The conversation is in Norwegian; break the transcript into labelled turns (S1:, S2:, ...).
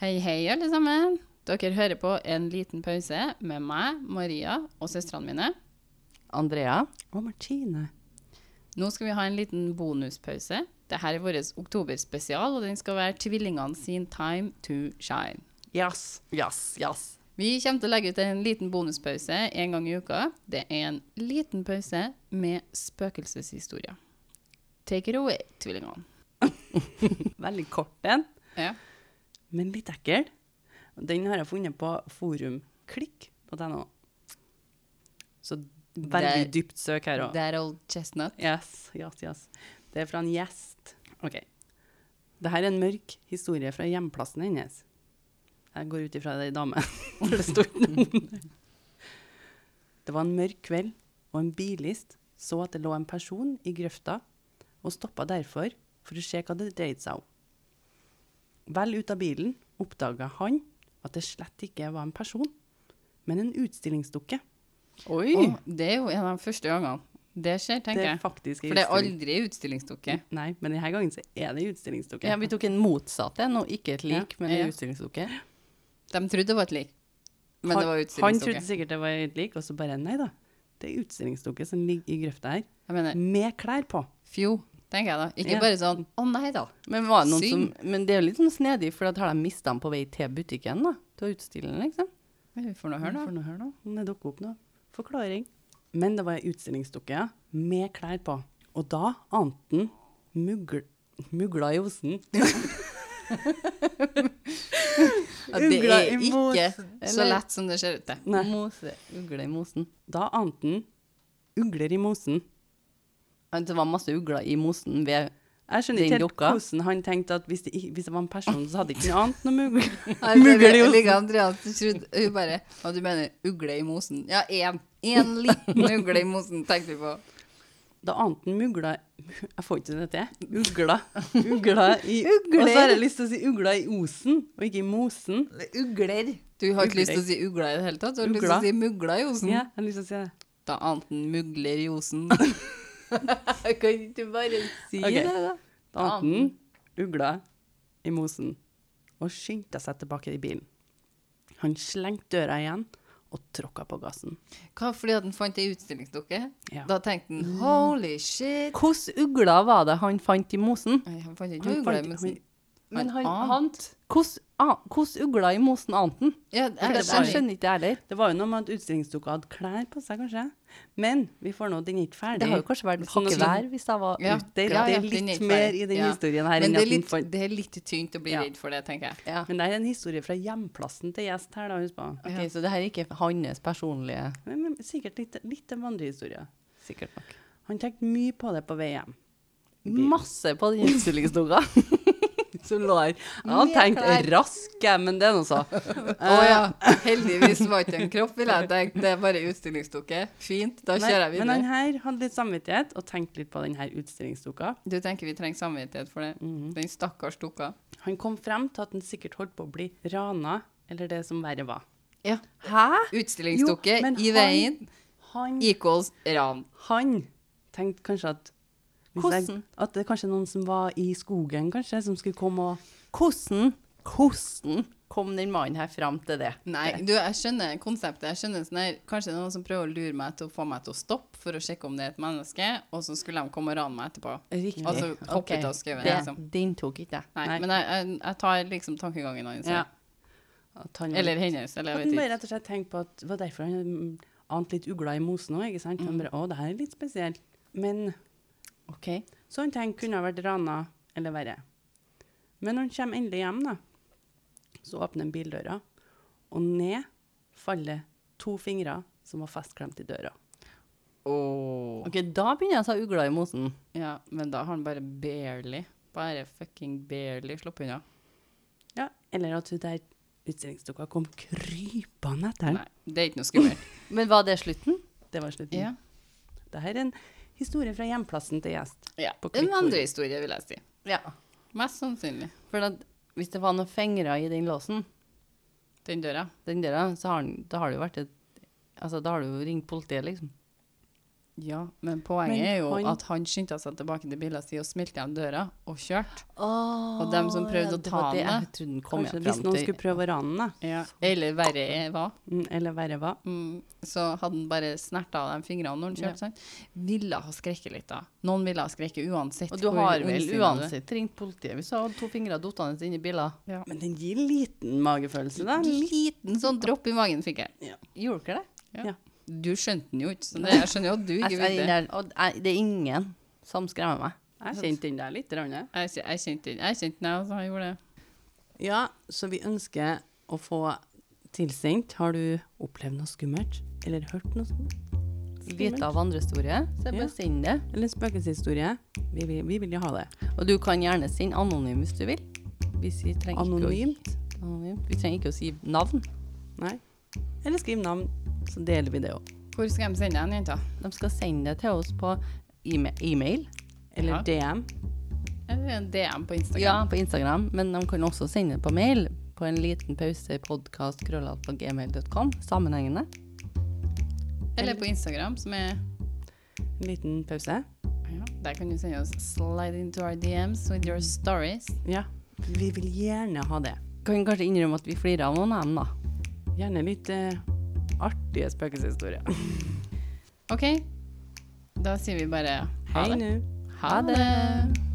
S1: Hei, hei, alle sammen. Dere hører på En liten pause med meg, Maria og søstrene mine.
S2: Andrea.
S3: Og Martine.
S1: Nå skal vi ha en liten bonuspause. Dette er vår oktoberspesial, og den skal være tvillingene sin time to shine.
S3: Yes.
S2: Yes, yes.
S1: Vi kommer til å legge ut en liten bonuspause en gang i uka. Det er en liten pause med spøkelseshistorier. Take it away, tvillingene.
S3: Veldig kort en,
S1: Ja.
S3: men litt ekkel. Den har jeg funnet på forumklikk.no. Så veldig
S1: Der-
S3: dypt søk her òg.
S1: That old chestnut.
S3: Yes, yes, yes. Det er fra en gjest. Ok. Dette er en mørk historie fra hjemplassen hennes. Jeg går ut ifra det er en dame. For det står ikke noe om det. Det var en mørk kveld, og en bilist så at det lå en person i grøfta, og stoppa derfor for å se hva det dreide seg om. Vel ut av bilen oppdaga han at det slett ikke var en person, men en utstillingsdukke.
S2: Oi!
S1: Å, det er jo en av de første gangene. Det skjer, tenker
S3: det er
S1: jeg.
S3: faktisk
S1: For det er aldri utstillingsdukke.
S3: Nei, men denne gangen så er det utstillingsdukke.
S2: Ja, vi tok en motsatt en, og ikke et lik, men en
S1: Ja.
S2: utstillingsdukke.
S1: De trodde det var et lik, men det var
S3: Han trodde
S1: utstillingsdukke.
S3: sikkert det var et lik, og så bare nei da. Det er utstillingsdukke som ligger i grøfta her,
S1: Jeg mener,
S3: med klær på.
S1: fjo, tenker jeg da. Ikke
S3: Ja.
S1: bare sånn, å nei da.
S2: Men, var det noen som,
S1: Synd.
S2: men det er jo litt sånn snedig, for da har de mista den på vei til butikken, da. Til utstillingen, liksom.
S1: Men vi får nå høre
S3: For
S1: nå.
S3: nå, hør nå. Det dukker opp nå. Forklaring. Men det var ei utstillingsdukke, ja. Med klær på. Og da ante han mugl... Mugla i osen.
S2: Ja, det
S3: Ugla
S2: er
S3: i
S2: ikke
S3: mosen.
S1: Så lett som det ser ut til.
S3: Nei.
S2: Mose, ugle i mosen.
S3: Da ante han ugler i mosen.
S2: Ja, Det var masse ugler i mosen ved
S3: Jeg skjønner
S2: Den
S3: ikke helt
S2: dukka.
S3: hvordan han tenkte at hvis det, i- hvis det var en person, så hadde ikke noe annet noe mugl.
S1: Nei, det-
S3: Mugler i
S1: jeg
S3: osten.
S1: liker Andrea, at hun trodde- hun bare, og du mener ugle i mosen. Ja, en. En liten ugle i mosen, tenkte vi på.
S3: Da ante han mugla Jeg får ikke til dette. Ugla. Ugla i
S2: Ugler.
S3: Og så har jeg lyst til å si ugla i osen, og ikke i mosen.
S1: Ugler. Du har ikke
S3: Ugler.
S1: lyst til å si ugla i det hele tatt, du har lyst til å
S3: Ugla.
S1: si mugla i
S2: Mm.
S1: osen.
S3: Ja, jeg har lyst til å si det.
S1: Da ante han mugler i osen.
S2: Kan du bare si
S3: Ok.
S2: det, da?
S3: Da ante han ugla i mosen og skyndte seg tilbake i bilen. Han slengte døra igjen og tråkka på gassen.
S1: Hva, fordi at han fant ei utstillingsdukke?
S3: Ja.
S1: Da tenkte han, holy shit.
S2: Hvilke ugler var det han fant i mosen?
S1: Nei, han fant ikke
S3: Han
S1: ugle i
S3: fant-
S1: mosen.
S3: han-
S1: Men han
S2: ant Hvilke ugler i mosen ante han?
S1: Ja,
S2: Jeg,
S1: jeg
S2: jeg
S1: skjønner.
S2: skjønner ikke det heller.
S3: Det var jo noe med at utstillingsdukka hadde klær på seg, kanskje. Men vi får nå den er ikke ferdig.
S2: Det har jo kanskje vært
S3: Sånn at-
S2: hakkevær hvis det var
S1: Ja.
S2: ut.
S3: Det,
S1: Ja,
S3: det
S1: ja,
S3: er
S1: den er
S3: litt
S1: ikke
S3: mer
S1: ferdig.
S3: i den
S1: Ja.
S3: historien her
S1: Men
S3: enn
S1: det
S3: at
S1: er,
S3: den
S1: litt,
S3: fant
S1: det er litt tynt å bli
S3: Ja.
S1: redd for det, tenker jeg.
S2: Ja.
S3: Men det er en historie fra hjemplassen til gjest her, da, husk på.
S2: Ok, Så det her er ikke hans personlige
S3: Men, men, sikkert litt, litt en vandrehistorie.
S2: Sikkert nok.
S3: Han tenkte mye på det på vei hjem.
S2: Masse på den utstillingsdunga som lå der.
S3: Jeg hadde
S2: klær.
S3: tenkt rask, jeg, men det er noe så.
S1: Å ja. Heldigvis var ikke en kropp, ville jeg tenkt. Det er bare utstillingsdukke. Fint, da
S3: Nei,
S1: kjører jeg
S3: Men han
S1: videre.
S3: her hadde litt samvittighet og tenkte litt på denne utstillingsdukka.
S1: Du tenker vi trenger samvittighet for det? Den stakkars dukka.
S3: Han kom frem til at han sikkert holdt på å bli rana, eller det som verre var.
S1: Ja.
S2: Hæ?
S1: Utstillingsdukke
S3: men
S1: i
S3: han-
S1: veien
S3: Han,
S1: equals ran.
S3: han tenkte kanskje at hvis jeg,
S2: Hvordan?
S3: At det er kanskje noen som var i skogen, kanskje, som skulle komme og
S2: Hvordan, hvordan kom den mannen her fram til det?
S1: Nei, du, jeg skjønner konseptet. Jeg skjønner sånn her, Kanskje det er noen som prøver å lure meg til å få meg til å stoppe for å sjekke om det er et menneske, og så skulle de komme og rane meg etterpå.
S3: Riktig.
S1: Altså hoppe
S2: Ok,
S1: ut av skauen,
S2: det-
S1: liksom.
S2: Den tok ikke jeg.
S1: Nei,
S3: Nei.
S1: men jeg, jeg, jeg tar liksom tankegangen hans.
S3: Ja.
S1: Ja.
S3: At han
S1: Eller hennes, eller
S3: At
S1: jeg vet
S3: han bare
S1: ikke.
S3: rett og slett tenkte på at det var derfor han mm, ante litt ugla i mosen òg, ikke sant?
S2: Mm.
S3: Han bare Å, det her er litt spesielt. Men
S2: OK.
S3: Så han tenkte kunne ha vært rana eller verre. Men når han kommer endelig hjem, da, så åpner han bildøra, og ned faller to fingre som var festklemt i døra.
S1: Åh.
S2: Ok, Da begynner jeg å ta ugler i mosen.
S1: Ja, men da har han bare barely, bare fucking barely sluppet unna.
S3: Ja, Eller at hun der utstillingsdukka kom krypende etter
S1: Nei, det er ikke noe skummelt.
S2: Men var det slutten?
S3: den. Det var slutten.
S1: ja.
S3: Dette er en historie fra hjemplassen til gjest.
S1: ja.
S3: På
S1: En
S3: klikkord.
S1: andre historie, vil jeg si.
S2: Ja.
S1: Mest sannsynlig.
S2: For at, hvis det var noen fingre i den låsen,
S1: Den døra.
S2: den døra, så har, den- da har det jo vært et Altså, da har du jo ringt politiet, liksom.
S1: Ja, men poenget
S3: Men
S1: er jo
S3: han-
S1: at han skyndte seg tilbake til bilen sin og smilte igjen døra og kjørte. Og dem som prøvde å ta
S2: det.
S1: han
S2: Jeg trodde den kom
S3: Kanskje
S2: jeg
S3: hvis
S2: frem
S3: noen
S2: til.
S3: skulle prøve å rane den, da.
S1: Eller verre er hva?
S3: Mm, eller verre hva.
S1: Mm, så hadde han bare snerta av de fingrene når han
S2: Ja.
S1: kjørte. sant? Ville ha skrekket litt, da. Noen ville ha skrekket uansett.
S2: Og du
S1: hvor
S2: har
S1: ondsinnet
S2: vel
S1: du er.
S2: uansett ringt politiet hvis du hadde to fingre dottende inn i biler?
S1: Ja.
S3: Men den gir liten magefølelse, da.
S1: En liten sånn dropp i magen fikk jeg.
S2: Gjorde dere det?
S1: Du skjønte den jo ikke, så det, jeg skjønner jo at du ikke
S2: Jeg, jeg,
S1: ville det.
S2: der, og, jeg, det er ingen som skremmer meg.
S3: Jeg kjente den der litt. Ranne.
S1: Jeg, kj- jeg kjente den, jeg kjente den, jeg, altså, jeg gjorde det.
S3: Ja, så vi ønsker å få tilsendt. Har du opplevd noe skummelt? Eller hørt noe skummelt?
S2: Vite av andre historier, så jeg
S3: Ja.
S2: bare send det.
S3: Eller en spøkelseshistorie? Vi, vil- vi vil jo ha det.
S2: Og du kan gjerne sende anonym hvis du vil. Vi sier- trenger ikke å-
S3: Anonymt?
S2: Anonym. Vi trenger ikke å si navn.
S3: Nei. Eller skriv navn, så deler vi det òg.
S1: Hvor skal de sende den, jenta?
S2: De skal sende det til oss på e-ma- e-mail.
S3: Eller
S1: Ja.
S3: DM.
S1: Eller en DM på Instagram?
S2: ja, på Instagram. Men de kan også sende det på mail. På en liten pause podcast krøllalfa gmail.com. Sammenhengende.
S1: Eller på Instagram, som er
S3: En liten pause.
S1: ja, Der kan du sende oss slide into our DMs with your stories.
S3: Ja. Vi vil gjerne ha det.
S2: Kan kanskje innrømme at vi flirer av noen av dem, da.
S3: Gjerne litt eh, artige spøkelseshistorier.
S1: OK? Da sier vi bare ha
S3: Hei
S1: det.
S3: nå.
S1: Ha det.